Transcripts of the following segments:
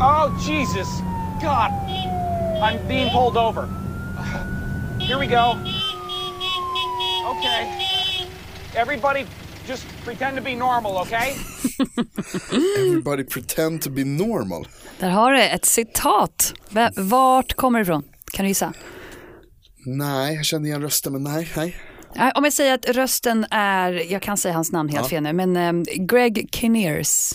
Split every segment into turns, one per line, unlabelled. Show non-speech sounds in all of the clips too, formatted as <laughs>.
Oh, Jesus. God. I'm being pulled over. Here we go. Okay. Everybody just pretend to be normal, okay?
Everybody pretend to be normal.
Där har du ett citat. V- Vart kommer det ifrån? Kan du gissa?
Nej, jag kände igen rösten men nej, nej.
Nej, Om jag säger att rösten är, jag kan säga hans namn helt fel nu, men ehm, Greg Kinnears.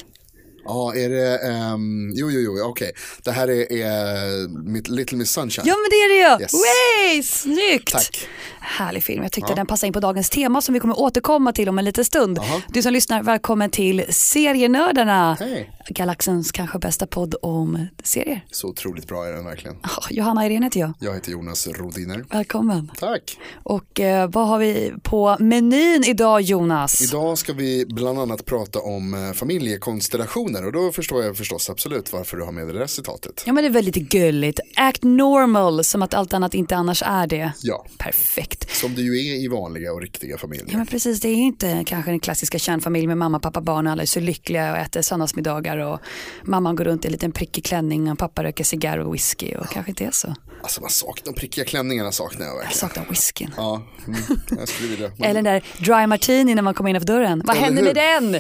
Ja, är det, ehm, jo, jo, jo, okej. Det här är, är mitt Little Miss Sunshine.
Ja men det är det ju!
Yes.
Way! Snyggt!
Tack.
Härlig film, jag tyckte den passade in på dagens tema som vi kommer återkomma till om en liten stund. Du som lyssnar, välkommen till Serienördarna.
Hej.
Galaxens kanske bästa podd om serier.
Så otroligt bra är den verkligen.
Ah, Johanna Irene heter jag.
Jag heter Jonas Rodiner.
Välkommen.
Tack.
Och eh, vad har vi på menyn idag Jonas?
Idag ska vi bland annat prata om eh, familjekonstellationer och då förstår jag förstås absolut varför du har med det där citatet.
Ja men det är väldigt gulligt. Act normal som att allt annat inte annars är det.
Ja,
Perfekt.
som det ju är i vanliga och riktiga familjer.
Ja men precis, det är inte kanske den klassiska kärnfamiljen med mamma, pappa, barn och alla är så lyckliga och äter söndagsmiddagar och mamman går runt i en liten prickig klänning och pappa röker cigarr och whisky och kanske inte är så.
Alltså man saknar, de prickiga klänningarna saknar jag
Jag
verkligen.
saknar whiskyn.
Ja, mm, jag skulle vilja.
Alltså. Eller den där dry martini när man kommer innanför dörren. Vad
Eller
hände med den?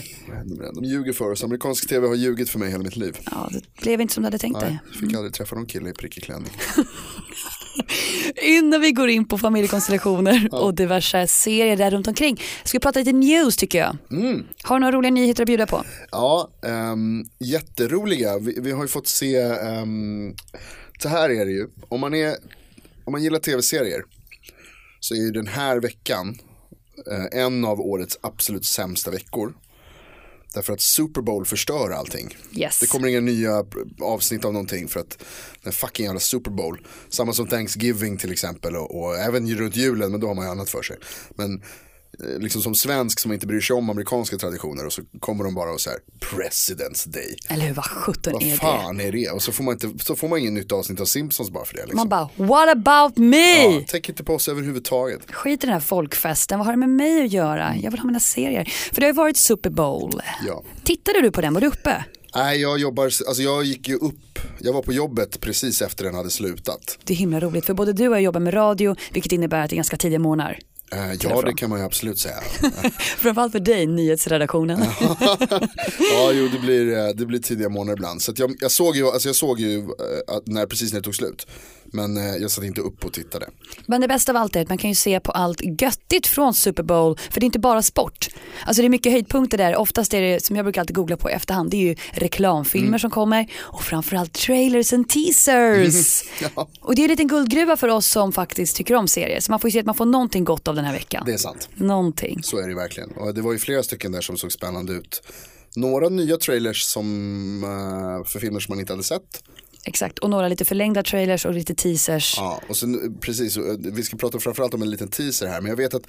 De ljuger för oss, amerikansk tv har ljugit för mig hela mitt liv.
Ja, det blev inte som du hade tänkt dig.
Nej, fick aldrig träffa någon kille i prickig klänning.
Innan vi går in på familjekonstellationer och diverse serier där runt omkring. Ska vi prata lite news tycker jag. Har du några roliga nyheter att bjuda på?
Ja, ehm, jätteroliga. Vi, vi har ju fått se, ehm, så här är det ju. Om man, är, om man gillar tv-serier så är ju den här veckan eh, en av årets absolut sämsta veckor. Därför att Super Bowl förstör allting.
Yes.
Det kommer inga nya avsnitt av någonting för att den fucking jävla Super Bowl. Samma som Thanksgiving till exempel och, och även runt julen men då har man ju annat för sig. Men eh, liksom som svensk som inte bryr sig om amerikanska traditioner och så kommer de bara och så här President's Day.
Eller hur, vad sjutton är
Vad
det?
fan liksom. är det? Och så får man, inte, så får man ingen nytt avsnitt av Simpsons bara för det. Liksom.
Man bara, what about me?
ja, tänk inte på oss överhuvudtaget.
Skit i den här folkfesten, vad har det med mig att göra? Jag vill ha mina serier. För det har ju varit Super Bowl.
Mm. Ja.
Tittade du på den? Var du uppe?
Nej, jag jobbar, alltså jag gick ju upp, jag var på jobbet precis efter den hade slutat.
Det är himla roligt för både du och jag jobbar med radio vilket innebär att det är ganska tidiga morgnar.
Eh, ja,
Därför.
det kan man ju absolut säga.
Framförallt för dig, nyhetsredaktionen.
ja, jo, det blir, eh, det blir tidiga månader ibland. Så att jag, jag såg ju, alltså jag såg ju eh, att när, precis när det tog slut. Men eh, jag satt inte upp och tittade.
Men det bästa av allt är att man kan ju se på allt göttigt från Super Bowl för det är inte bara sport. Alltså det är mycket höjdpunkter där. Oftast är det, som jag brukar alltid googla på i efterhand, det är ju reklamfilmer
Mm.
som kommer och framförallt trailers
<laughs>
and teasers. Och det är en liten guldgruva för oss som faktiskt tycker om serier. Så man får ju se att man får någonting gott av den här veckan.
Det är sant.
Någonting.
Så är det ju verkligen. Och det var ju flera stycken där som såg spännande ut. Några nya trailers som, eh, för filmer som man inte hade sett.
Exakt, och några lite förlängda trailers och lite teasers.
Ja, och sen, precis, eh, vi ska prata framförallt om en liten teaser här. Men jag vet att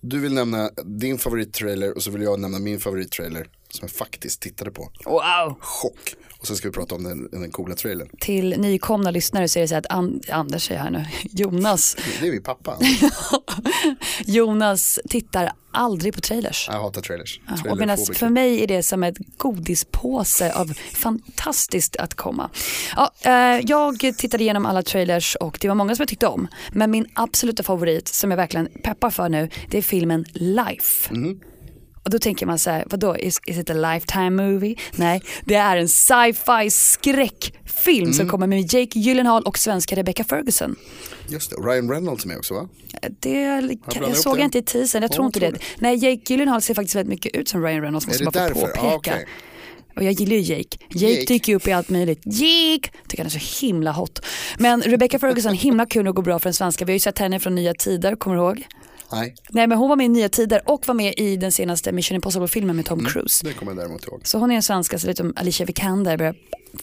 du vill nämna din favorittrailer och så vill jag nämna min favorittrailer. Som jag faktiskt tittade på.
Wow!
Chock. Och sen ska vi prata om den, den coola trailern.
Till nykomna lyssnare så är det så här att An- Anders säger här nu, <laughs> Jonas,
Det är min pappa.
Jonas tittar aldrig på trailers.
Jag hatar trailers.
Och medan för mig är det som ett godispåse av fantastiskt att komma. Ja, eh, jag tittade igenom alla trailers och det var många som jag tyckte om. Men min absoluta favorit som jag verkligen peppar för nu det är filmen Life.
Mm.
Och då tänker man så här, vadå, is, is it a lifetime movie? Nej, det är en sci-fi skräckfilm
Mm.
som kommer med Jake Gyllenhaal och svenska Rebecca Ferguson. Eh,
Just det, och Ryan Reynolds är med också va?
Det kan,
blandar
jag
ihop
såg
det.
inte i teasern, jag
Ja,
tror inte
jag
det.
tror
Nej, Jake Gyllenhaal ser faktiskt väldigt mycket ut som Ryan Reynolds,
det
måste man bara få
därför?
påpeka.
Ja, okej.
Och jag gillar ju Jake. Jake.
Jake.
dyker ju upp i allt möjligt. Jake! Tycker han är så himla hot. Men Rebecca Ferguson, himla kul och går bra för den svenska. Vi har ju sett henne från Nya Tider, kommer du ihåg?
Nej,
Nej men hon var med i Nya Tider och var med i den senaste Mission Impossible-filmen med
Mm.
Tom Cruise.
det kommer jag däremot ihåg.
Så hon är en svenska, så lite som Alicia Vikander börjar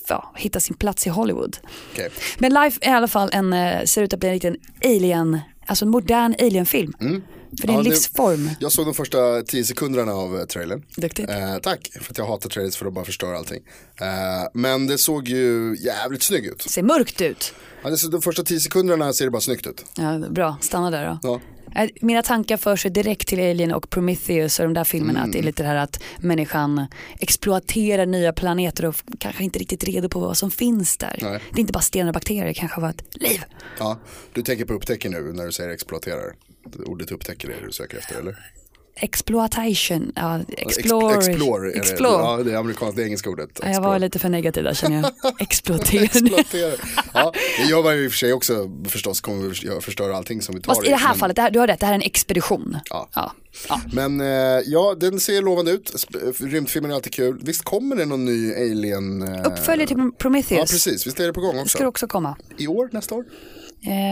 ja, hitta sin plats i Hollywood.
Okej.
Men Life är i alla fall en, eh, ser ut att bli en liten alien, alltså en modern alienfilm. För det är
Mm. Ja,
en
det-
livsform.
Jag såg de första tio sekunderna av eh, trailern.
Duktigt.
Eh, tack, för att jag hatar trailers för de bara förstör allting. Eh, men det såg ju jävligt snygg ut.
Ser mörkt ut.
Ja, det, så de första tio sekunderna ser det bara snyggt ut.
Ja, bra, stanna där då.
Ja.
Eh, Mina tankar för sig direkt till Alien och Prometheus och de där filmerna. Att det är
Mm.
lite det här att människan exploaterar nya planeter och f- kanske inte riktigt är redo på vad som finns där.
Nej.
Det är inte bara stenar och bakterier, det kanske var ett liv.
Ja, du tänker på upptäcker nu när du säger exploaterar. Ordet upptäcker är det du söker efter eller?
Exploitation, ja, explore.
Explore. Explore. Är det.
Explore.
Ja, det är amerikanskt, det är engelska ordet.
Ja, jag var lite för negativ där känner jag.
<laughs>
<laughs> Exploatering.
Exploatera. Ja, det gör man ju i och för sig också förstås, kommer vi gör- förstöra allting som vi tar
Fast i det här
men-
fallet, det här, du har rätt, det här är en expedition.
liksom. Ja.
Ja. Ja.
Men eh, ja, den ser lovande ut. Sp- Rymdfilmer är alltid kul. Visst kommer det någon ny alien? eh,
Uppföljer till
Ja,
Prometheus.
precis. Visst är det på gång
Ska det
också?
också komma.
I år, nästa år?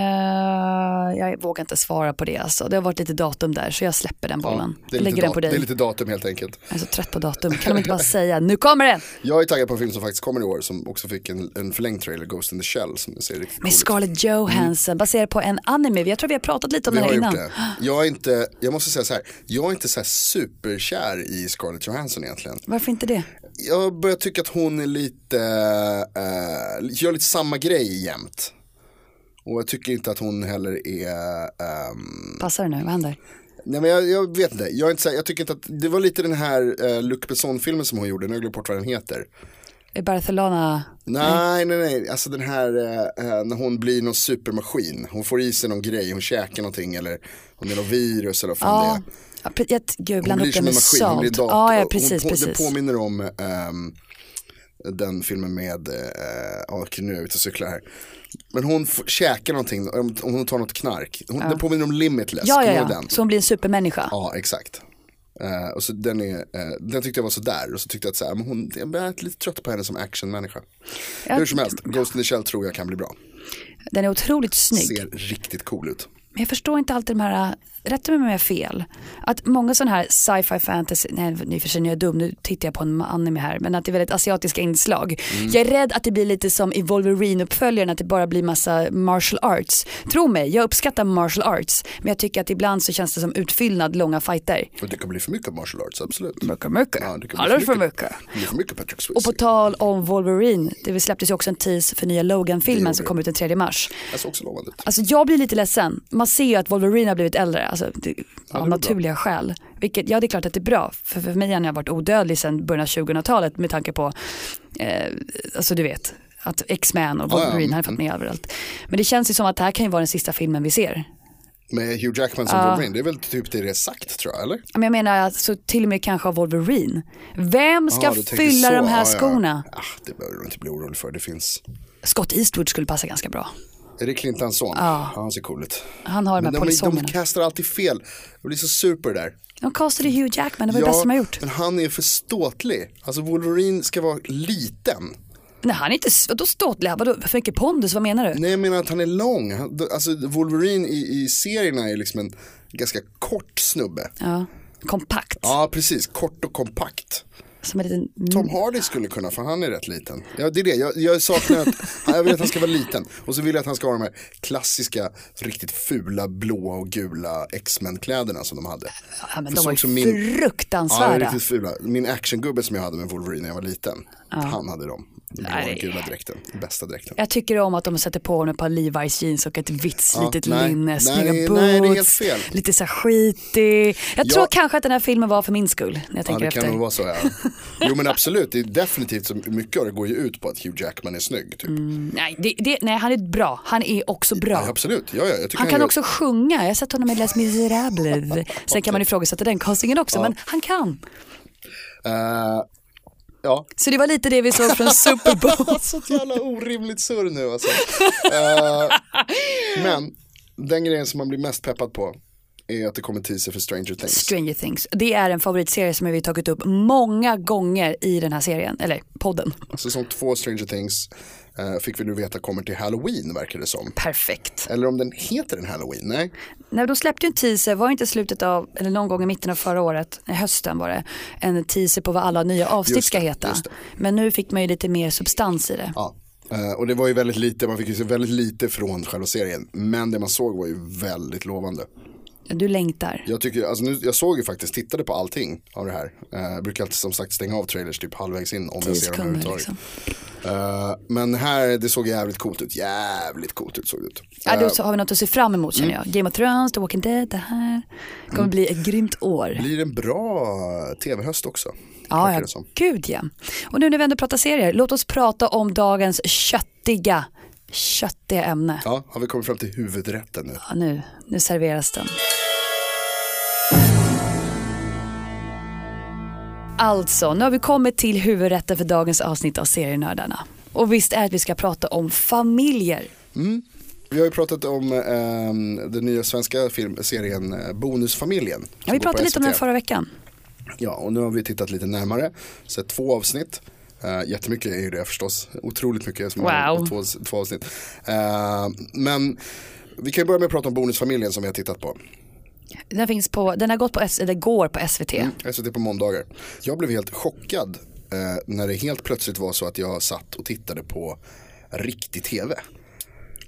Eh, jag vågar inte svara på det alltså. Det har varit lite datum där så jag släpper den bollen.
det, är lite
Lägger den
dat-
på dig.
det är lite datum helt enkelt.
Jag är så trött på datum. Kan de inte bara säga nu kommer
<laughs>
den?
Jag är taggad på en film som faktiskt kommer i år som också fick en, en förlängd trailer, Ghost in the Shell, som ser riktigt cool
Med
ut.
Scarlett Johansson baserad på en anime. Jag tror vi har pratat lite om
Vi
den
har
här
gjort
innan.
det. Jag är inte, jag måste säga så här, jag är inte så här superkär i Scarlett Johansson egentligen.
Varför inte det?
Jag börjar tycka att hon är lite, eh, gör lite samma grej jämt. Och jag tycker inte att hon heller är, ehm,
Passar det nu? Vad händer?
Nej men jag, jag vet inte, jag, är inte så här, jag tycker inte att, det var lite den här eh, Luc Besson-filmen som hon gjorde, nu har jag glömt bort vad den heter.
Är Barcelona...
Nej, nej, nej, alltså den här eh, eh, när hon blir någon supermaskin, hon får i sig någon grej, hon käkar någonting eller om det är något virus eller vad fan det
Ja.
är.
ja pre- jag, gud,
Hon
blanda
blir
upp
som
det
en
med
maskin, hon blir
salt.
dator.
Ja, ja,
Hon
precis,
på,
precis.
Det påminner om ehm, den filmen med, eh, ja okej, nu är jag ute och cyklar här. Men hon f- käkar någonting, om, om hon tar något knark, hon, den påminner om Limitless,
ja, ja,
kommer du ihåg
ja.
den?
Så hon blir en supermänniska.
Ja, exakt. Eh, och så den, är, eh, den tyckte jag var sådär och så tyckte jag att så här, men hon, jag blev lite trött på henne som actionmänniska.
Ja.
Hur som helst, Ghost in the Shell tror jag kan bli bra.
Den är otroligt snygg.
Ser riktigt cool ut.
Men jag förstår inte alltid de här, rätta mig om jag är fel, att många sådana här sci-fi fantasy, nej nu för sig nu är jag dum, nu tittar jag på en anime här, men att det är väldigt asiatiska inslag.
Mm.
Jag är rädd att det blir lite som i Wolverine-uppföljaren, att det bara blir massa martial arts. Tro mig, jag uppskattar martial arts, men jag tycker att ibland så känns det som utfyllnad långa fighter.
Och det kan bli för mycket martial arts, absolut.
Mycket, mycket.
Ja, det kan bli
Alldeles
för
för
mycket.
mycket.
Det blir för mycket Patrick
Och
Swayze.
på tal om Wolverine, det släpptes ju också en tease för nya Logan-filmen som
det.
kom ut den 3 mars.
Jag såg också lovande ut.
Alltså jag blir lite ledsen. Man ser ju att Wolverine har blivit äldre, alltså, det, av
är
naturliga skäl. Vilket, ja det är klart att det är bra, för, för mig har han varit odödlig sedan början av 2000-talet med tanke på, eh, alltså du vet, att X-Men och
ja. Mm.
Wolverine han har fått med överallt. Men det känns ju som att det här kan ju vara den sista filmen vi ser.
Med Hugh Jackman som Wolverine, det är väl typ det det är sagt tror jag, eller?
Men jag menar alltså, till och med kanske av Wolverine. Vem ska
Ja, du tänker
fylla
så.
de här
Ja, ja.
skorna?
Ah, det behöver du inte bli orolig för, det finns.
Scott Eastwood skulle passa ganska bra.
Är det Clintans son? Ja. Han ser cool ut.
Han har de
Men
här
de, de
polisongerna.
kastar alltid fel, jag blir så sur på det där.
De castade Hugh Jackman, det var det bästa de har gjort.
men han är för ståtlig. Alltså Wolverine ska vara liten.
Nej han är inte, s- vadå ståtlig, vadå för mycket pondus, vad menar du?
Nej jag menar att han är lång. Han- Alltså Wolverine i, i serierna är liksom en ganska kort snubbe.
Ja, kompakt.
Ja precis, kort och kompakt.
Som en liten...
Tom Hardy skulle kunna för han är rätt liten. Ja det är det, jag, jag saknar att, <laughs> ja, jag vill att han ska vara liten. Och så vill jag att han ska ha de här klassiska, riktigt fula blåa och gula X-Men kläderna som de hade.
Ja, men
För
de
så
var ju
som min- Ja, de är
fruktansvärda.
riktigt fula. Min actiongubbe som jag hade med Wolverine när jag var liten, han hade dem. Den blåa
Nej.
och gula dräkten, bästa dräkten.
Jag tycker om att de sätter på honom ett par Levi's jeans och ett vitt
Ja,
slitet
nej.
linne,
Nej,
snygga
nej,
boots,
det är helt fel.
lite så här skitig. Jag
Ja.
tror kanske att den här filmen var för min skull när jag
Ja,
tänker
det
efter.
kan nog vara så. Ja. Jo men absolut, det är definitivt så mycket av det går ju ut på att Hugh Jackman är snygg. Typ.
Nej, det, det, nej, han är bra. Han är också bra.
Ja, absolut, ja, ja, jag tycker
han kan
gör-
också sjunga. Jag har sett honom i
<laughs>
Les Misérables. Sen kan man ifrågasätta den castingen också, men han kan.
Eh, ja.
Så det var lite det vi
<laughs>
såg från Super Bowl.
Alltså ett jävla orimligt surr nu alltså. Eh, men den grejen som man blir mest peppad på är att det kommer teaser för Stranger Things.
Stranger Things. Det är en favoritserie som vi har tagit upp många gånger i den här serien, eller podden.
Säsong Alltså, två Stranger Things eh, fick vi nu veta kommer till Halloween verkar det som.
Perfekt.
Eller om den heter den Halloween, nej.
Nej, de släppte ju en teaser, var det inte slutet av, eller någon gång i mitten av förra året, nej, hösten var det, en teaser på vad alla nya avsnitt
Just
ska
det,
heta.
just det.
Men nu fick man ju lite mer substans i det.
Ja. Eh, och det var ju väldigt lite, man fick ju se väldigt lite från själva serien. Men det man såg var ju väldigt lovande.
längtar, du längtar.
Jag, tycker, alltså nu, jag såg ju faktiskt, tittade på allting av det här. Eh, jag brukar alltid som sagt stänga av trailers typ halvvägs in om jag ser dem
Sekunder
överhuvudtaget.
liksom.
Eh, men här, det såg jävligt coolt ut. Jävligt coolt ut såg det ut.
Ja,
Eh,
då så har vi något att se fram emot känner
Mm.
jag. Game of Thrones, The Walking Dead, det här. Det kommer bli ett grymt år.
blir en bra tv-höst också.
Ja,
verkar
ja.
det som.
gud ja. Och nu när vi ändå pratar serier, låt oss prata om dagens köttiga, köttiga ämne.
ja, har vi kommit fram till huvudrätten nu?
Ja, nu, nu serveras den. Alltså, nu har vi kommit till huvudrätten för dagens avsnitt av Serienördarna. Och visst är det att vi ska prata om familjer.
Vi har ju pratat om eh, den nya svenska film- serien eh, Bonusfamiljen.
Ja,
som går
vi
på
pratade lite om den
SVT.
förra veckan.
Ja, och nu har vi tittat lite närmare. Sett två avsnitt. Uh, jättemycket är ju det förstås. Otroligt mycket som har
Wow.
två, två avsnitt. Eh, men vi kan ju börja med att prata om Bonusfamiljen som vi har tittat på.
Den, finns på, den har gått på, S- eller går på SVT.
SVT på måndagar. Jag blev helt chockad eh, när det helt plötsligt var så att jag satt och tittade på riktig tv.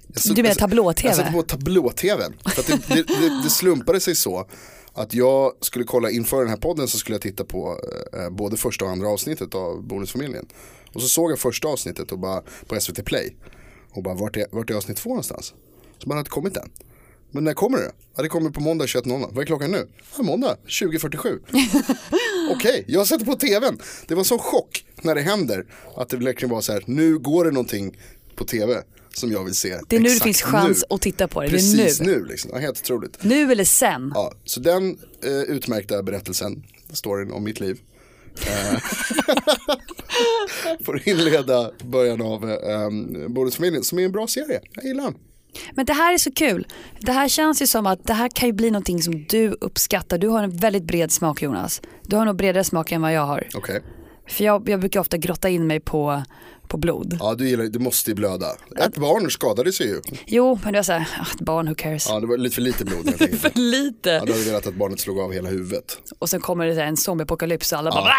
Jag satt-
Du menar
jag satt-
tablå-tv?
Jag satt alltså, på tablå-tvn. För att det, det, det, det slumpade sig så att jag skulle kolla inför den här podden så skulle jag titta på eh, både första och andra avsnittet av Bonusfamiljen. Och så såg jag första avsnittet och bara, på SVT Play och bara vart är, vart är avsnitt två någonstans? Så man hade inte kommit än. Men när kommer det? Ja, det kommer på måndag 21.00. Vad är klockan nu? Ja, måndag 20.47. Okej, jag sätter på tvn. Det var sån chock när det händer att det verkligen var så här, nu går det någonting på tv som jag vill se.
Det är nu det
Exakt
finns chans
nu.
att titta på det. Det är nu.
Precis nu, liksom. ja, helt otroligt.
Nu eller sen.
Ja, så den eh, utmärkta berättelsen, storyn om mitt liv. eh, <laughs> Får inleda början av eh, Bonusfamiljen som är en bra serie. Jag gillar den.
Men det här är så kul. Det här känns ju som att det här kan ju bli någonting som du uppskattar. Du har en väldigt bred smak Jonas. Du har nog bredare smak än vad jag har.
Okej.
För jag, jag brukar ofta grotta in mig på, på blod.
Ja, du gillar det måste ju blöda. Ett barn skadade sig ju.
Jo, men det är så här, ah, ett barn, who cares.
Ja, det var lite för lite blod helt
<laughs>
enkelt.
För lite.
Ja, du hade velat att barnet slog av hela huvudet.
Och sen kommer det så här en zombieapokalyps och alla bara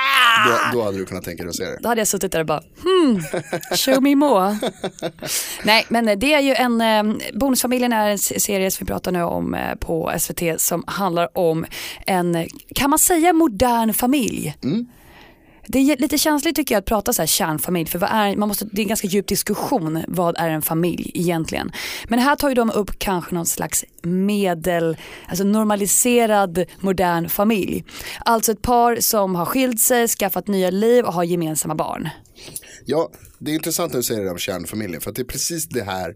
Då, då hade du kunnat tänka dig att se det.
Då hade jag suttit där och bara hmm, show me more. <laughs> Nej men det är ju en, eh, Bonusfamiljen är en s- serie som vi pratar nu om eh, på SVT som handlar om en, eh, kan man säga modern familj? Det är ju lite känsligt tycker jag att prata så här kärnfamilj för vad är, man måste, det är en ganska djup diskussion vad är en familj egentligen. Men här tar ju de upp kanske någon slags medel, alltså normaliserad modern familj. Alltså ett par som har skilt sig, skaffat nya liv och har gemensamma barn.
Ja, det är intressant när du säger det om kärnfamiljen. För att det är precis det här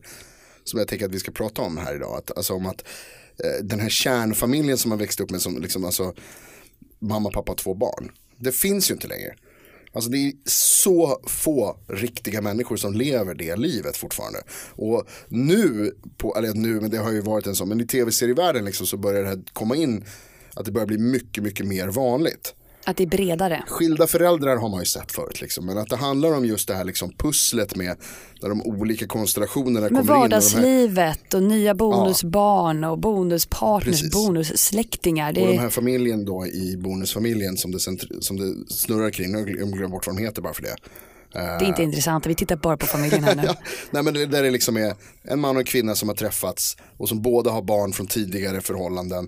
som jag tänker att vi ska prata om här idag. Att, alltså om att eh, den här kärnfamiljen som man växte upp med som liksom alltså mamma, pappa, två barn. Det finns ju inte längre. Alltså det är så få riktiga människor som lever det livet fortfarande. Och nu, på, eller nu, men det har ju varit en sån, men i tv-serievärlden liksom så börjar det här komma in att det börjar bli mycket, mycket mer vanligt
Att det är bredare.
skilda föräldrar har man ju sett förut. Liksom. Men att det handlar om just det här liksom, pusslet med när de olika konstellationerna
Men
kommer in. Och de, här,
vardagslivet och nya bonusbarn och bonuspartners,
Precis.
bonussläktingar. Det
och de
är,
här familjen då i bonusfamiljen som det, centr- som det snurrar kring. Nu har jag glömt bort vad de heter bara för det.
det är inte intressant, vi tittar bara på familjen här nu.
<laughs> Ja, nej men det där det liksom är en man och en kvinna som har träffats och som båda har barn från tidigare förhållanden.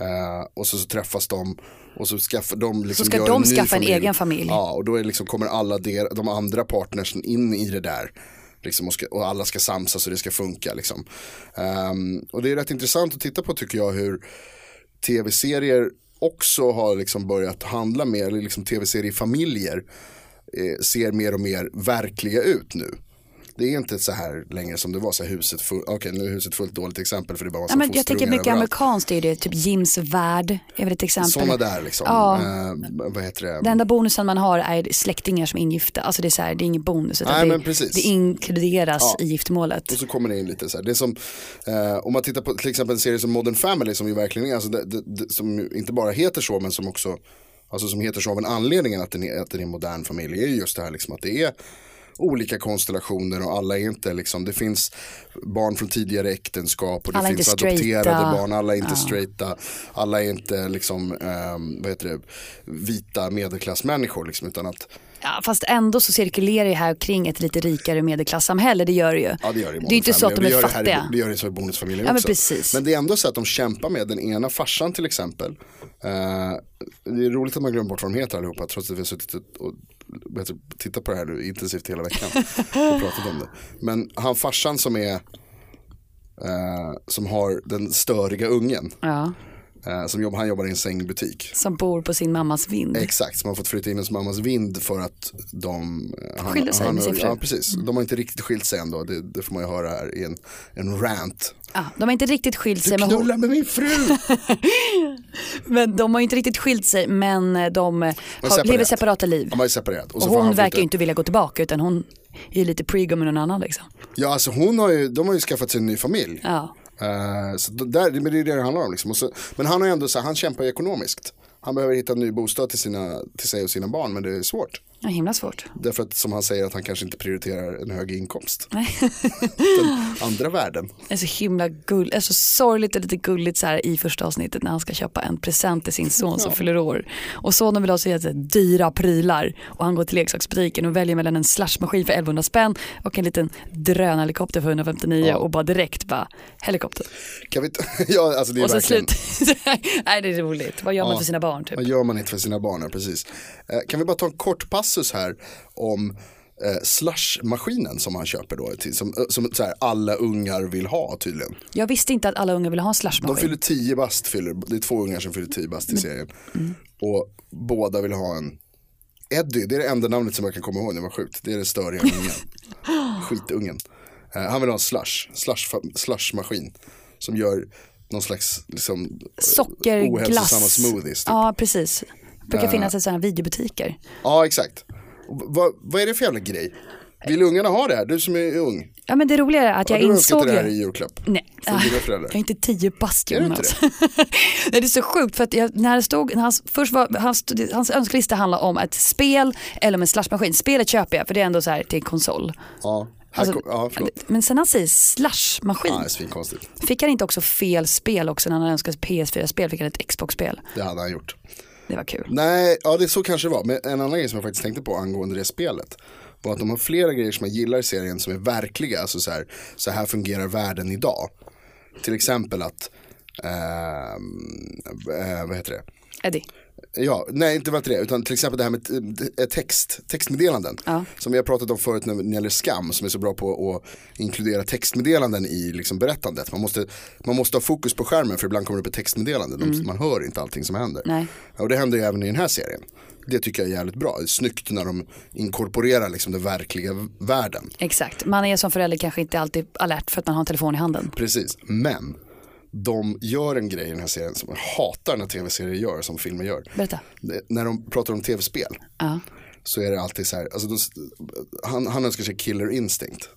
Eh, och så, så träffas de och så skaffar de liksom
ska
gör
de
en ny
skaffa en
familj.
egen familj.
Ja och då är liksom, kommer alla der, de andra partnersen in i det där. Liksom, och, ska, och alla ska samsas och det ska funka liksom. Ehm, och det är rätt intressant att titta på tycker jag hur tv-serier också har liksom börjat handla mer, eller liksom tv-seriefamiljer eh, ser mer och mer verkliga ut nu. Det är inte så här längre som det var, så här huset fullt, okej nu är huset fullt dåligt exempel för det är bara en
Ja,
massa
men jag tänker mycket amerikanskt är det, typ Jims värld är väl ett exempel.
Sådana där liksom,
Ja.
eh, vad heter det?
Den enda bonusen man har är släktingar som är ingifta. Alltså det är, så här, det är ingen bonus utan
Nej, men
det,
precis.
det inkluderas
Ja.
i giftmålet.
Och så kommer det in lite så här. Det är som, eh, om man tittar på till exempel en serie som Modern Family som ju verkligen är, alltså det, det, det, som ju inte bara heter så men som också, alltså som heter så av en anledning att den är, att den är en modern familj, är ju just det här liksom att det är olika konstellationer och alla är inte liksom, det finns barn från tidigare äktenskap och det
Alla är inte
finns adopterade
straighta.
barn, alla är inte straighta, eh, alla är inte liksom, ehm, vad heter det, vita medelklassmänniskor liksom, utan att
Ja, fast ändå så cirkulerar det här kring ett lite rikare medelklassamhälle, det gör det ju.
Ja, det gör det i
är inte så att de
bonusfamiljer.
är
det gör Det, här,
fattiga.
i- det gör det så i bonusfamiljen
Ja, men
också.
precis.
Men det är ändå så att de kämpar med den ena farsan till exempel. Eh, det är roligt att man glömmer bort vad de heter allihopa trots att vi har suttit och och vad heter det, tittat på det här nu intensivt hela veckan.
<laughs>
och pratat om det. Men han farsan som är eh, som har den störiga ungen.
Ja,
eh, som jobb, han jobbar i en sängbutik.
som bor på sin mammas vind.
Exakt, som har fått flytta in hos mammas vind för att de eh, han-
Skilde sig
han-
med sin fru.
Ja, precis. De har inte riktigt skilt sig ändå. Det, det får man ju höra här i en, en rant.
Ja, de har inte riktigt skilt sig, men, hon,
Knulla med min fru!
<laughs> men de har ju inte riktigt skilt sig, men eh, de eh, har,
separerat.
lever separata liv.
De har ju separerat. Och
Och
så får
hon
han flytta-
verkar ju inte vilja gå tillbaka, utan hon är lite prego med någon annan liksom.
Ja, alltså hon har ju, de har ju skaffat sig en ny familj.
Ja.
Eh, så d- där, men det är ju det det handlar om. Liksom. Och så, men han har ju ändå så här, han kämpar ju ekonomiskt. Han behöver hitta en ny bostad till, sina, till sig och sina barn, men det är svårt.
Ja, himla svårt.
Därför att som han säger att han kanske inte prioriterar en hög inkomst.
Nej. <laughs> <gasps>
Den andra världen.
Det är så himla gull, alltså sorgligt och lite gulligt så här i första avsnittet när han ska köpa en present till sin son som fyller år. Och sonen vill ha så jätte dyra prylar och han går till leksaksbutiken och väljer mellan en slashmaskin för 1100 spänn och en liten drönarhelikopter för 159
Ja.
och bara direkt bara helikopter.
Kan vi inte, <laughs> ja, alltså det är
Och sen
verkligen-
slut. <laughs> Nej det är roligt, vad gör man
Ja.
för sina barn typ?
Vad gör man inte för sina barn? Ja, precis. Eh, kan vi bara ta en kort passus här om eh, slushmaskinen som han köper då. Till, som eh, som så här, alla ungar vill ha tydligen.
Jag visste inte att alla unga ville ha en
De
slashmaskin.
fyller 10 bast, fyller, det är två ungar som fyller 10 bast i serien.
Mm.
Och båda vill ha en Eddie, det är det enda namnet som jag kan komma ihåg, det var sjukt. Det är den störiga ungen.
<laughs>
Skitungen. Eh, han vill ha en slush, slush, slushmaskin. Som gör någon slags liksom, ohälsosamma
Sockerglass.
smoothies. typ. Äh.
Ja precis. Det brukar finnas i sådana här videobutiker.
Ja, exakt. Och Vad, vad är det för jävla grej? Vill ungarna ha det här? Du som är ung.
Ja men det roliga är att
Har
jag
du önskat
insåg
det här
ju- Mm.
i julklapp?
Nej,
Från dina föräldrar?
jag är inte tio bast
Är du
Jonas.
inte
<laughs> Nej, det är så sjukt för att jag, när det stod, när hans, först var, hans, hans önskelista handlar om ett spel eller om en slashmaskin. Spelet köper jag för det är ändå så här till konsol.
Ja, här
Alltså,
kom, ja förlåt.
men sen han säger slashmaskin,
Ja, det är svinkonstigt.
fick han inte också fel spel också när han önskade ett PS4-spel, fick han ett Xbox-spel.
Det hade han gjort.
Det var kul.
Nej, ja det så kanske det var. Men en annan grej som jag faktiskt tänkte på angående det spelet var att de har flera grejer som jag gillar i serien som är verkliga. Alltså så här, så här fungerar världen idag. Till exempel att, ehm, eh, vad heter det?
Eddie,
Ja, nej det var inte det, utan till exempel det här med eh, text, textmeddelanden.
Ja.
Som vi har pratat om förut när det gäller skam, som är så bra på att inkludera textmeddelanden i liksom berättandet. Man måste, man måste ha fokus på skärmen för ibland kommer det upp ett textmeddelande, De- man hör inte allting som händer.
Mm. Nej.
Ja, Och det händer ju även i den här serien. Det tycker jag är jävligt bra, det är snyggt när de inkorporerar liksom den verkliga v- världen.
exakt. Man är som förälder kanske inte alltid alert för att man har en telefon i handen.
Precis, men de gör en grej i den här serien som jag hatar när tv-serier gör, som filmer gör.
Berätta.
Det- När de pratar om tv-spel.
Ja.
så är det alltid så här, alltså, de, han, han önskar sig Killer Instinct.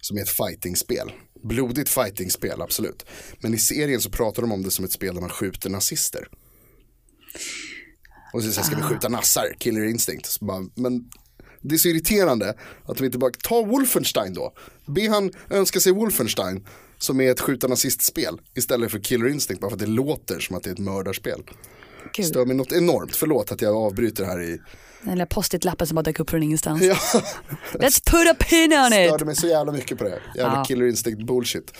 Som är ett fightingspel. Blodigt fightingspel, absolut. Men i serien så pratar de om det som ett spel där man skjuter nazister. Och så, så här, ska vi skjuta nassar, Killer Instinct. Så bara, men det är så irriterande att de inte bara, ta Wolfenstein då. Be han önska sig Wolfenstein som är ett skjuta nazistspel istället för Killer Instinct bara för att det låter som att det är ett mördarspel.
Kul.
Stör mig något enormt, förlåt att jag avbryter här i <laughs>
Den lilla post-it-lappen som bara dök upp från ingenstans.
Ja,
Let's put a pin on it!
störde mig så jävla mycket på det. här. Jävla
Ja.
killer instinct bullshit.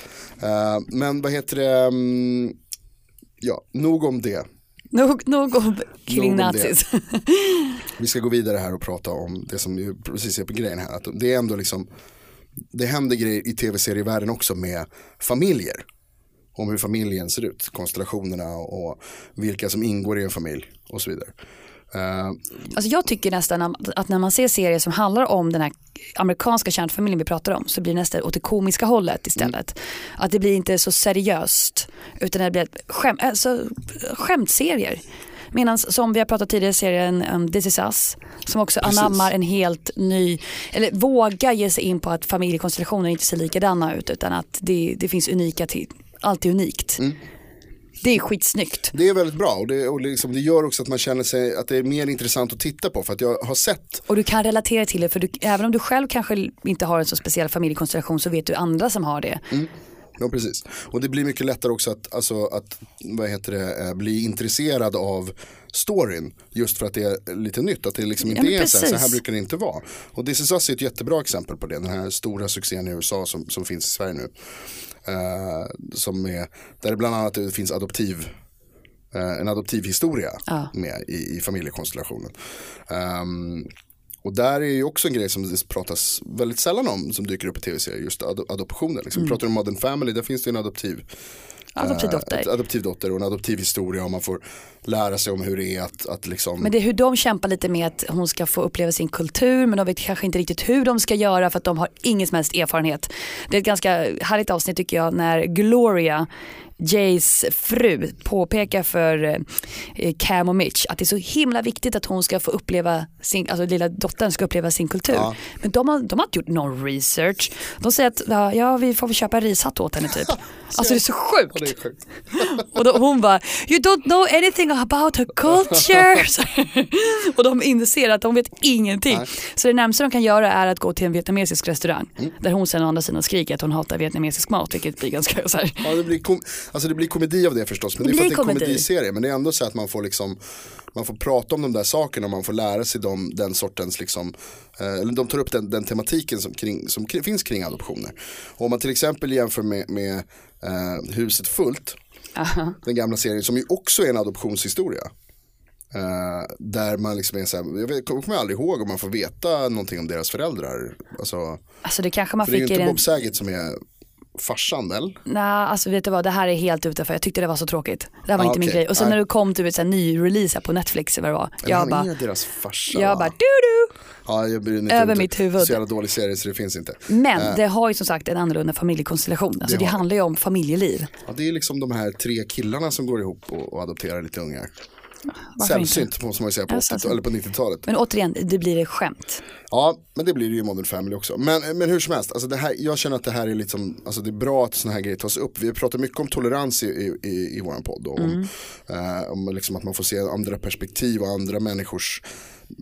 Eh, men vad heter det? mm, Ja, nog om det.
Nog, nog om
Nog
kring
om det.
nazis.
Vi ska gå vidare här och prata om det som ju precis är på grejen här. Att det är ändå liksom, det händer grejer i tv-serievärlden också med familjer. Om hur familjen ser ut, konstellationerna och vilka som ingår i en familj och så vidare. Eh,
<laughs> Alltså jag tycker nästan att när man ser serier som handlar om den här amerikanska kärnfamiljen vi pratar om så blir det nästan åt det komiska hållet istället. Att det blir inte så seriöst utan det blir ett skäm, alltså, skämtserier. Medan som vi har pratat tidigare i serien um, This is us som också anammar en helt ny, eller vågar ge sig in på att familjekonstellationer inte ser likadana ut utan att det, det finns unika, till, allt är unikt. Det är skitsnyggt.
det är väldigt bra och, det, och liksom, det gör också att man känner sig att det är mer intressant att titta på för att jag har sett
Och du kan relatera till det för du, även om du själv kanske inte har en så speciell familjekonstellation så vet du andra som har det.
Ja, precis. Och det blir mycket lättare också att, alltså, att vad heter det, eh, bli intresserad av storyn. Just för att det är lite nytt. Att det liksom inte
men
är så här, så här
precis.
brukar det inte vara. Och This is Us är ett jättebra exempel på det. Den här stora succén i USA som, som finns i Sverige nu. Eh, som är, där det bland annat finns adoptiv eh, en adoptivhistoria med i, i familjekonstellationen. Ehm, och där är ju också en grej som det pratas väldigt sällan om som dyker upp i tv-serier, just ad- adoptionen. Liksom.
Mm.
Vi Pratar om Modern Family, där finns det ju en adoptiv eh,
Adoptivdotter.
ett adoptivdotter och en adoptivhistoria och man får lära sig om hur det är att, att liksom
Men det är hur de kämpar lite med att hon ska få uppleva sin kultur men de vet kanske inte riktigt hur de ska göra för att de har ingen som helst erfarenhet. Det är ett ganska härligt avsnitt tycker jag när Gloria Jays fru påpekar för eh, Cam och Mitch att det är så himla viktigt att hon ska få uppleva sin, alltså lilla dottern ska uppleva sin kultur. Men de har, de har inte gjort någon research. De säger att ja, ja, vi får väl köpa en rishatt åt henne
<laughs>
typ. Alltså det är så sjukt.
det är sjukt.
Och då, hon bara, you don't know anything about her
<laughs>
culture. Så- och de inser att de vet ingenting. Så det närmaste de kan göra är att gå till en vietnamesisk restaurang.
Mm.
Där hon sen å andra sidan skriker att hon hatar vietnamesisk mat, vilket blir ganska så här.
Ja, det, blir kom- alltså det blir komedi av det förstås, men det,
Det
är för att det är
blir
en
komedi.
komediserie. Men det är ändå så att man får, liksom, man får prata om de där sakerna och man får lära sig de, den sortens, liksom, eh, eller de tar upp den, den tematiken som, kring, som kri- finns kring adoptioner. Och om man till exempel jämför med, med eh, Huset fullt, den gamla serien som ju också är en adoptionshistoria. Eh, där man liksom är så här, jag vet, kommer aldrig ihåg om man får veta någonting om deras föräldrar. Alltså,
Alltså det kanske man
för det är ju
fick i
inte
den...
Bob Saget som är farsan, eller?
Nej, alltså vet du vad, det här är helt utanför. Jag tyckte det var så tråkigt. Det här var
Ah,
inte min
okej.
grej. Och sen
Nej.
när du kom typ ett så här ny release här på Netflix eller vad det var.
Eller
Jag
han
bara,
är deras farsa.
jag
va?
bara, du du.
ja, jag bryr mig inte
över
om det.
mitt huvud.
Så jävla dålig serie så det finns inte.
Men det har ju som sagt en annorlunda familjekonstellation. Alltså
Det
det
har det.
handlar ju om familjeliv.
Ja, det är liksom de här tre killarna som går ihop och, och adopterar lite ungar.
Varför inte? Alltså,
Sällsynt måste man ju säga på,
Ja,
80-talet,
sällsynt.
eller på 90-talet.
Men återigen, det blir ett skämt.
Ja, men det blir det ju i Modern Family också. Men, men hur som helst, alltså det här, jag känner att det här är liksom, alltså det är bra att sådana här grejer tas upp. Vi pratar mycket om tolerans i, i, i, i vår podd. Och om, eh, om liksom att man får se andra perspektiv och andra människors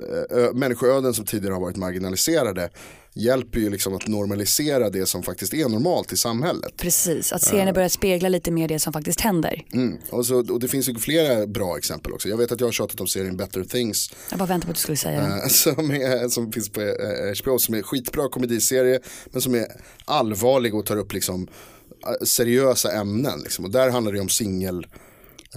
eh, ö- människoöden som tidigare har varit marginaliserade hjälper ju liksom att normalisera det som faktiskt är normalt i samhället.
Precis, att serierna börjar spegla lite mer det som faktiskt händer.
Mm. Och, så, och det finns ju flera bra exempel också. Jag vet att jag har tjatat om serien Better Things
Jag bara väntar på att du skulle säga det.
Eh, <laughs> som, är, som finns på eh, HBO som är skitbra komediserie men som är allvarlig och tar upp liksom eh, seriösa ämnen liksom. och där handlar det om singel eh,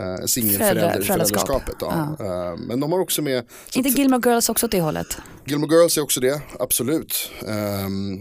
Föräldra-
singelföräldraskapet. Ja. Eh, Men de har också med, så
Inte Gilmore Girls också åt det hållet?
Gilmore Girls är också det, absolut. Ehm,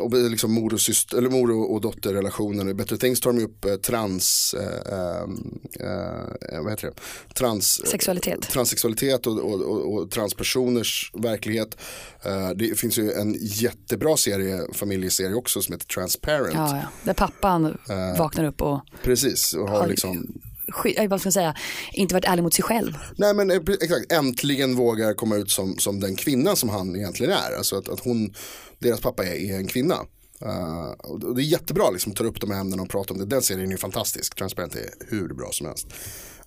och det är liksom mor och, syster, eller mor och, och dotterrelationen. I Better Things tar de ju upp eh, trans, eh, ehm, eh, vad heter det? trans eh,
Sexualitet.
transsexualitet och, och, och, och transpersoners verklighet. Eh, det finns ju en jättebra serie, familjeserie också som heter Transparent.
Ja, ja. Där pappan vaknar upp och,
Precis, och har liksom
sky- jag vad ska jag säga, inte varit ärlig mot sig själv.
Nej men eh, pre- exakt, äntligen vågar komma ut som, som den kvinna som han egentligen är. Alltså att, att hon, deras pappa är, är en kvinna. Eh, och det- och det är jättebra liksom, tar upp de här ämnena och pratar om det. Den serien är ju fantastisk, Transparent är hur bra som helst.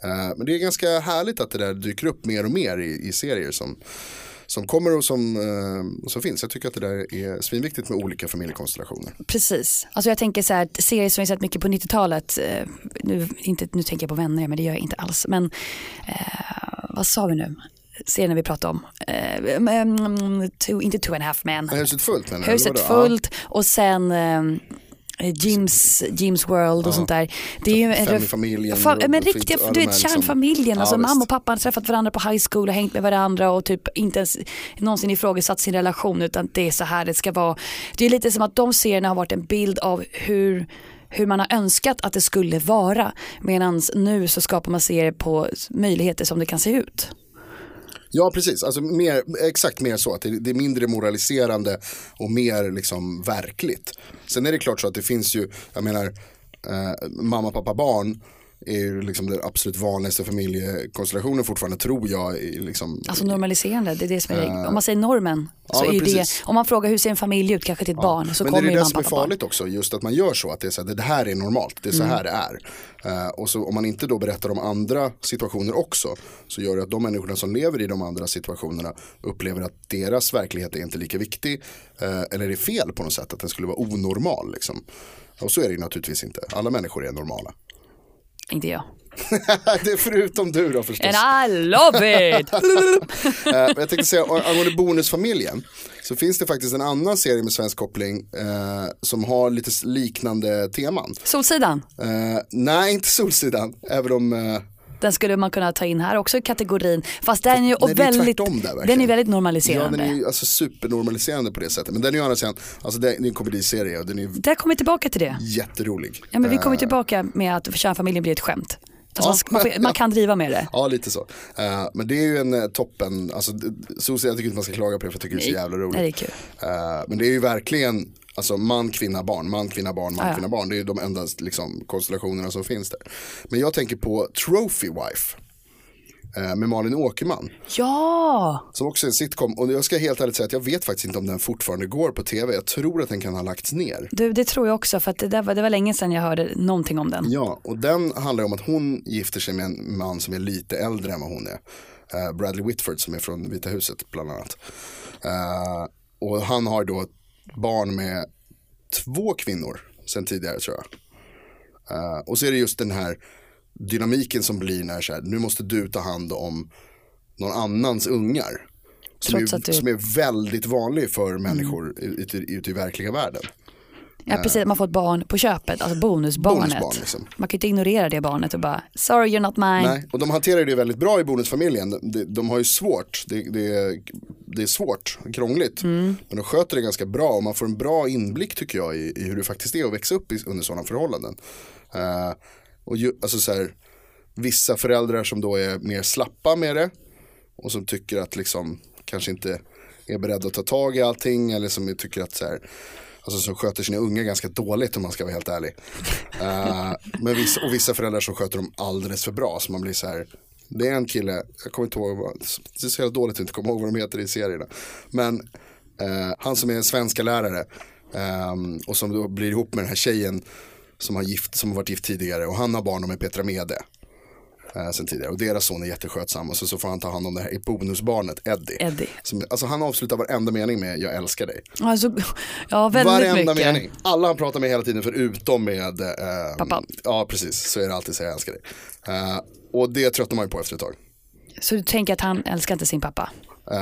Eh, men det är ganska härligt att det där dyker upp mer och mer i, i serier som, som kommer och som, eh, och som finns. Jag tycker att det där är svinviktigt med olika familjekonstellationer.
Precis, alltså jag tänker så här, att serier som vi sett mycket på 90-talet, eh, nu, inte, nu tänker jag på vänner men det gör jag inte alls, men eh, vad sa vi nu? Serien vi pratade om, eh, mm, two, inte two and a half men,
Men Huset fullt menar du, eller
Huset
vadå? Ja,
fullt och sen ehm, Jims, Jims World och sånt där. Det är ju en
Fem i
ref-
familjen
Fa-
och-
men
och fint-
riktiga,
ja,
du
de
vet
här liksom-
kärnfamiljen,
Ja,
alltså mamma
visst.
och pappa har träffat varandra på high school och hängt med varandra och typ inte ens någonsin ifrågasatt sin relation utan det är så här det ska vara. Det är lite som att de serierna har varit en bild av hur hur man har önskat att det skulle vara medan nu så skapar man serier på möjligheter som det kan se ut.
Ja, precis. Alltså, mer, exakt mer så. Att det, det är mindre moraliserande och mer liksom, verkligt. Sen är det klart så att det finns ju, jag menar, eh, mamma, pappa, barn är ju liksom den absolut vanligaste familjekonstellationen fortfarande tror jag. i Liksom,
Alltså normaliserande, det är det som är Om man säger normen,
ja,
så
men
är ju det,
precis.
om man frågar hur ser en familj ut, kanske till ett barn, så
men
kommer
det är
ju
det
man
som är
pappa barn. Mm.
farligt också, just att man gör så, att det, är så här, det här är normalt, det är så här det är. Eh, och så om man inte då berättar om andra situationer också, så gör det att de människorna som lever i de andra situationerna upplever att deras verklighet är inte lika viktig, eh, eller är fel på något sätt, att den skulle vara onormal. Liksom. Och så är det ju naturligtvis inte, alla människor är normala. <laughs>
Inte jag.
det är förutom du då förstås.
And I love it! <laughs>
Eh, men jag tänkte säga a- angående Bonusfamiljen så finns det faktiskt en annan serie med svensk koppling eh, som har lite s- liknande teman.
Solsidan,
Eh, nej, inte Solsidan, även om eh,
den skulle man kunna ta in här också i kategorin, fast den är ju
Nej, det är
väldigt,
tvärtom där, verkligen.
den är väldigt
ja, den
normaliserande.
är ju alltså, supernormaliserande på det sättet. Men den är ju å andra sidan, alltså, det är det är en komediserie och den är ju
Där kommer vi tillbaka till det.
jätterolig.
Ja, men vi kommer tillbaka med att kärnfamiljen blir ett skämt. Fast man, ska- man, får- man kan driva med det.
Ja, lite så. Eh, men det är ju en eh, toppen, alltså, d- d- Solsidan tycker inte man ska klaga på det för jag tycker det är så jävla roligt.
Nej, det är kul.
Eh, men det är ju verkligen alltså, man, kvinna, barn, man, kvinna, barn, man,
Ja.
kvinna, barn. Det är ju de enda liksom, konstellationerna som finns där. Men jag tänker på Trophy Wife eh, med Malin Åkerman.
Ja,
Som också är en sitcom. Och jag ska helt ärligt säga att jag vet faktiskt inte om den fortfarande går på tv. Jag tror att den kan ha lagts ner.
du, det tror jag också för att det, där var, det var länge sedan jag hörde någonting om den.
Ja, och den handlar ju om att hon gifter sig med en man som är lite äldre än vad hon är. Eh, Bradley Whitford som är från Vita huset bland annat. Eh, och han har då ett barn med två kvinnor sen tidigare tror jag. Eh, och så är det just den här dynamiken som blir när så här, nu måste du ta hand om någon annans ungar. Som,
Trots
är,
att du- Mm.
som är väldigt vanlig för människor ute, ute i verkliga världen.
Ja, precis, man får ett barn på köpet, alltså bonusbarnet.
Eh. Bonusbarn, liksom.
Man kan ju inte ignorera det barnet och bara, sorry you're not mine.
Nej, och de hanterar ju det väldigt bra i bonusfamiljen. De, de har ju svårt, det, det, är- det är svårt, krångligt. Men de sköter det ganska bra och man får en bra inblick tycker jag i, i hur det faktiskt är att växa upp i, under sådana förhållanden. Eh, och ju, alltså så här, vissa föräldrar som då är mer slappa med det och som tycker att liksom kanske inte är beredda att ta tag i allting eller som tycker att så här Alltså som sköter sina unga ganska dåligt om man ska vara helt ärlig. Eh, men vissa, och vissa föräldrar som sköter dem alldeles för bra. Så man blir så här. Det är en kille, jag kommer inte ihåg, vad- det är så jävla dåligt att inte komma ihåg vad de heter i serierna. Men eh, han som är en svenska lärare ehm, och som då blir ihop med den här tjejen som har, gift, som har varit gift tidigare och han har barn med Petra Mede. Eh, sen tidigare. Och deras son är jätteskötsam och så, så får han ta hand om det här i bonusbarnet Eddie.
Eddie.
Som, alltså han avslutar varenda mening med jag älskar dig.
Alltså, ja, väldigt
Varenda
mycket.
mening. Alla han pratar med hela tiden förutom med eh,
Pappa.
Ja precis, så är det alltid så jag älskar dig. Eh, och det tröttnar man ju på efter ett tag.
Så du tänker att han älskar inte sin pappa?
Eh,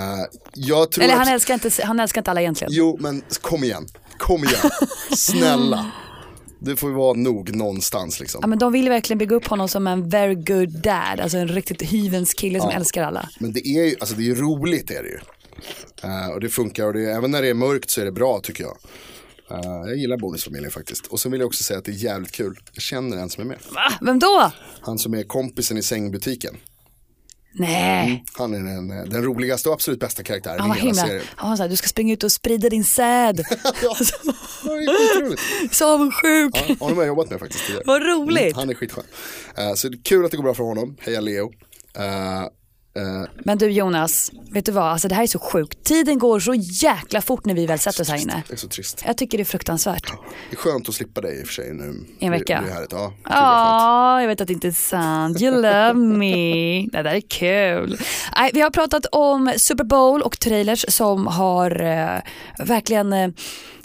jag tror
Eller
att...
han älskar, inte, han älskar inte alla egentligen?
Jo men kom igen, kom
<laughs>
igen, snälla. Det får ju vara nog någonstans liksom.
Ja, men de vill verkligen bygga upp honom som en very good dad, alltså en riktigt hyvens kille som
Ja.
älskar alla.
Men det är ju, alltså det är ju roligt är det ju. Eh, och det funkar och det, är- även när det är mörkt så är det bra tycker jag. Eh, jag gillar bonusfamiljen faktiskt. Och sen vill jag också säga att det är jävligt kul. Jag känner en som är med.
Va? Ah, Vem då?
Han som är kompisen i sängbutiken.
Nej,
Han är den, eh, den roligaste och absolut bästa karaktären
han var
i hela
himla,
serien. <laughs>
han var såhär, du ska springa ut och sprida din säd,
ja, det är skitroligt.
så avundsjuk.
Ja, Honom har jag jobbat med faktiskt tidigare. Mm,
Vad roligt.
Han är skitskön. Eh, så det är kul att det går bra för honom. Heja Leo. Eh, eh,
Men du Jonas, vet du vad, alltså det här är så sjukt. Tiden går så jäkla fort när vi väl sätter oss här inne.
det är så trist.
Jag tycker det är fruktansvärt.
Det är skönt att slippa dig i och för sig nu.
En vecka.
Det, det är härligt. Ja, kul och skönt.
Ja, jag vet att det inte är sant. You love me. Det där är kul. Nej, vi har pratat om Super Bowl och trailers som har eh, verkligen eh,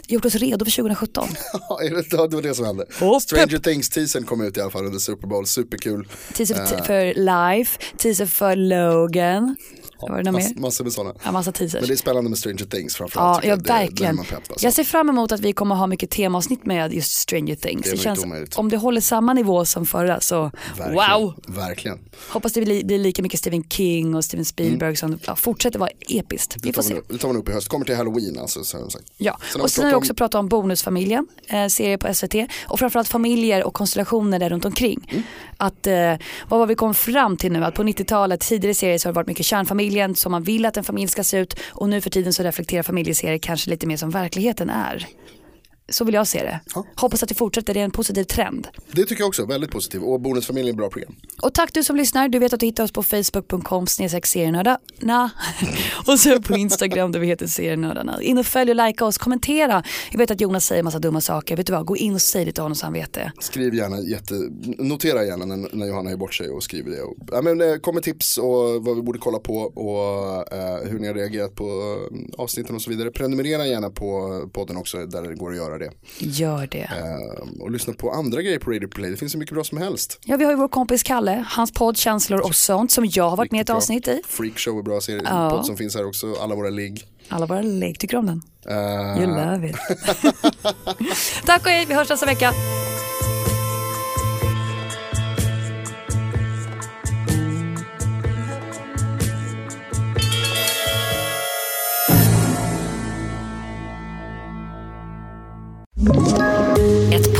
gjort oss redo för 2017.
Ja, är det- ja, det var det som hände.
Och
Stranger Things-teasen kom ut i alla fall under Super Bowl. Superkul.
Teaser för,
Eh.
för Life, teaser för Logan. Var det något
Mass,
mer?
massor med sådana.
Ja, massa teasers.
Men det är spännande med Stranger Things
Ja,
framförallt. tycker
ja
jag. Det- där är
verkligen.
man pepp, alltså.
Jag ser fram emot att vi kommer ha mycket temaavsnitt med just Stranger Things.
Det är
Det
väl
känns,
inte omöjligt.
om det håller samma nivå som förra så
Verkligen.
wow.
Verkligen.
Hoppas det blir, blir lika mycket Stephen King och Steven Spielberg som ja, fortsätter vara episkt. Vi
Mm. Det tar,
får
man
se.
upp, det tar man upp i höst. Kommer till halloween alltså. Så har de sagt.
Ja,
Sen har vi
och sen har
pratat
vi
om-
också pratat om Bonusfamiljen, eh, serie på SVT och framförallt familjer och konstellationer där runt omkring.
Mm.
Att, eh, vad var vi kom fram till nu? Att på 90-talet, tidigare serier så har det varit mycket kärnfamiljen som man vill att en familj ska se ut och nu för tiden så reflekterar familjeserier kanske lite mer som verkligheten är. Så vill jag se det.
Ja.
Hoppas att det fortsätter, det är en positiv trend.
Det tycker jag också, väldigt positivt. Och Bonusfamiljen, bra program.
Och tack du som lyssnar, du vet att du hittar oss på facebook.com snedstreck serienördarna <laughs> och sen på Instagram där vi heter serienördarna. In och följ och likea oss, kommentera. Jag vet att Jonas säger massa dumma saker, vet du vad, gå in och säg det till honom så han vet det.
Skriv gärna, jätte, notera gärna när, när Johanna är bort sig och skriver det. Och, ja, men, eh, kom med tips och vad vi borde kolla på och eh, hur ni har reagerat på eh, avsnitten och så vidare. Prenumerera gärna på podden också där det går att göra det.
Gör det.
Eh, och lyssna på andra grejer på Radio Play, det finns så mycket bra som helst.
Ja, vi har ju vår kompis Kalle, hans podd Känslor och sånt som jag har varit med i ett
Bra.
avsnitt i.
Freakshow är bra serie,
Ja.
podd som finns här också, alla våra ligg.
Alla våra lek, tycker du om den?
Eh,
You love it. <laughs> Tack och hej, vi hörs nästa vecka.
Ett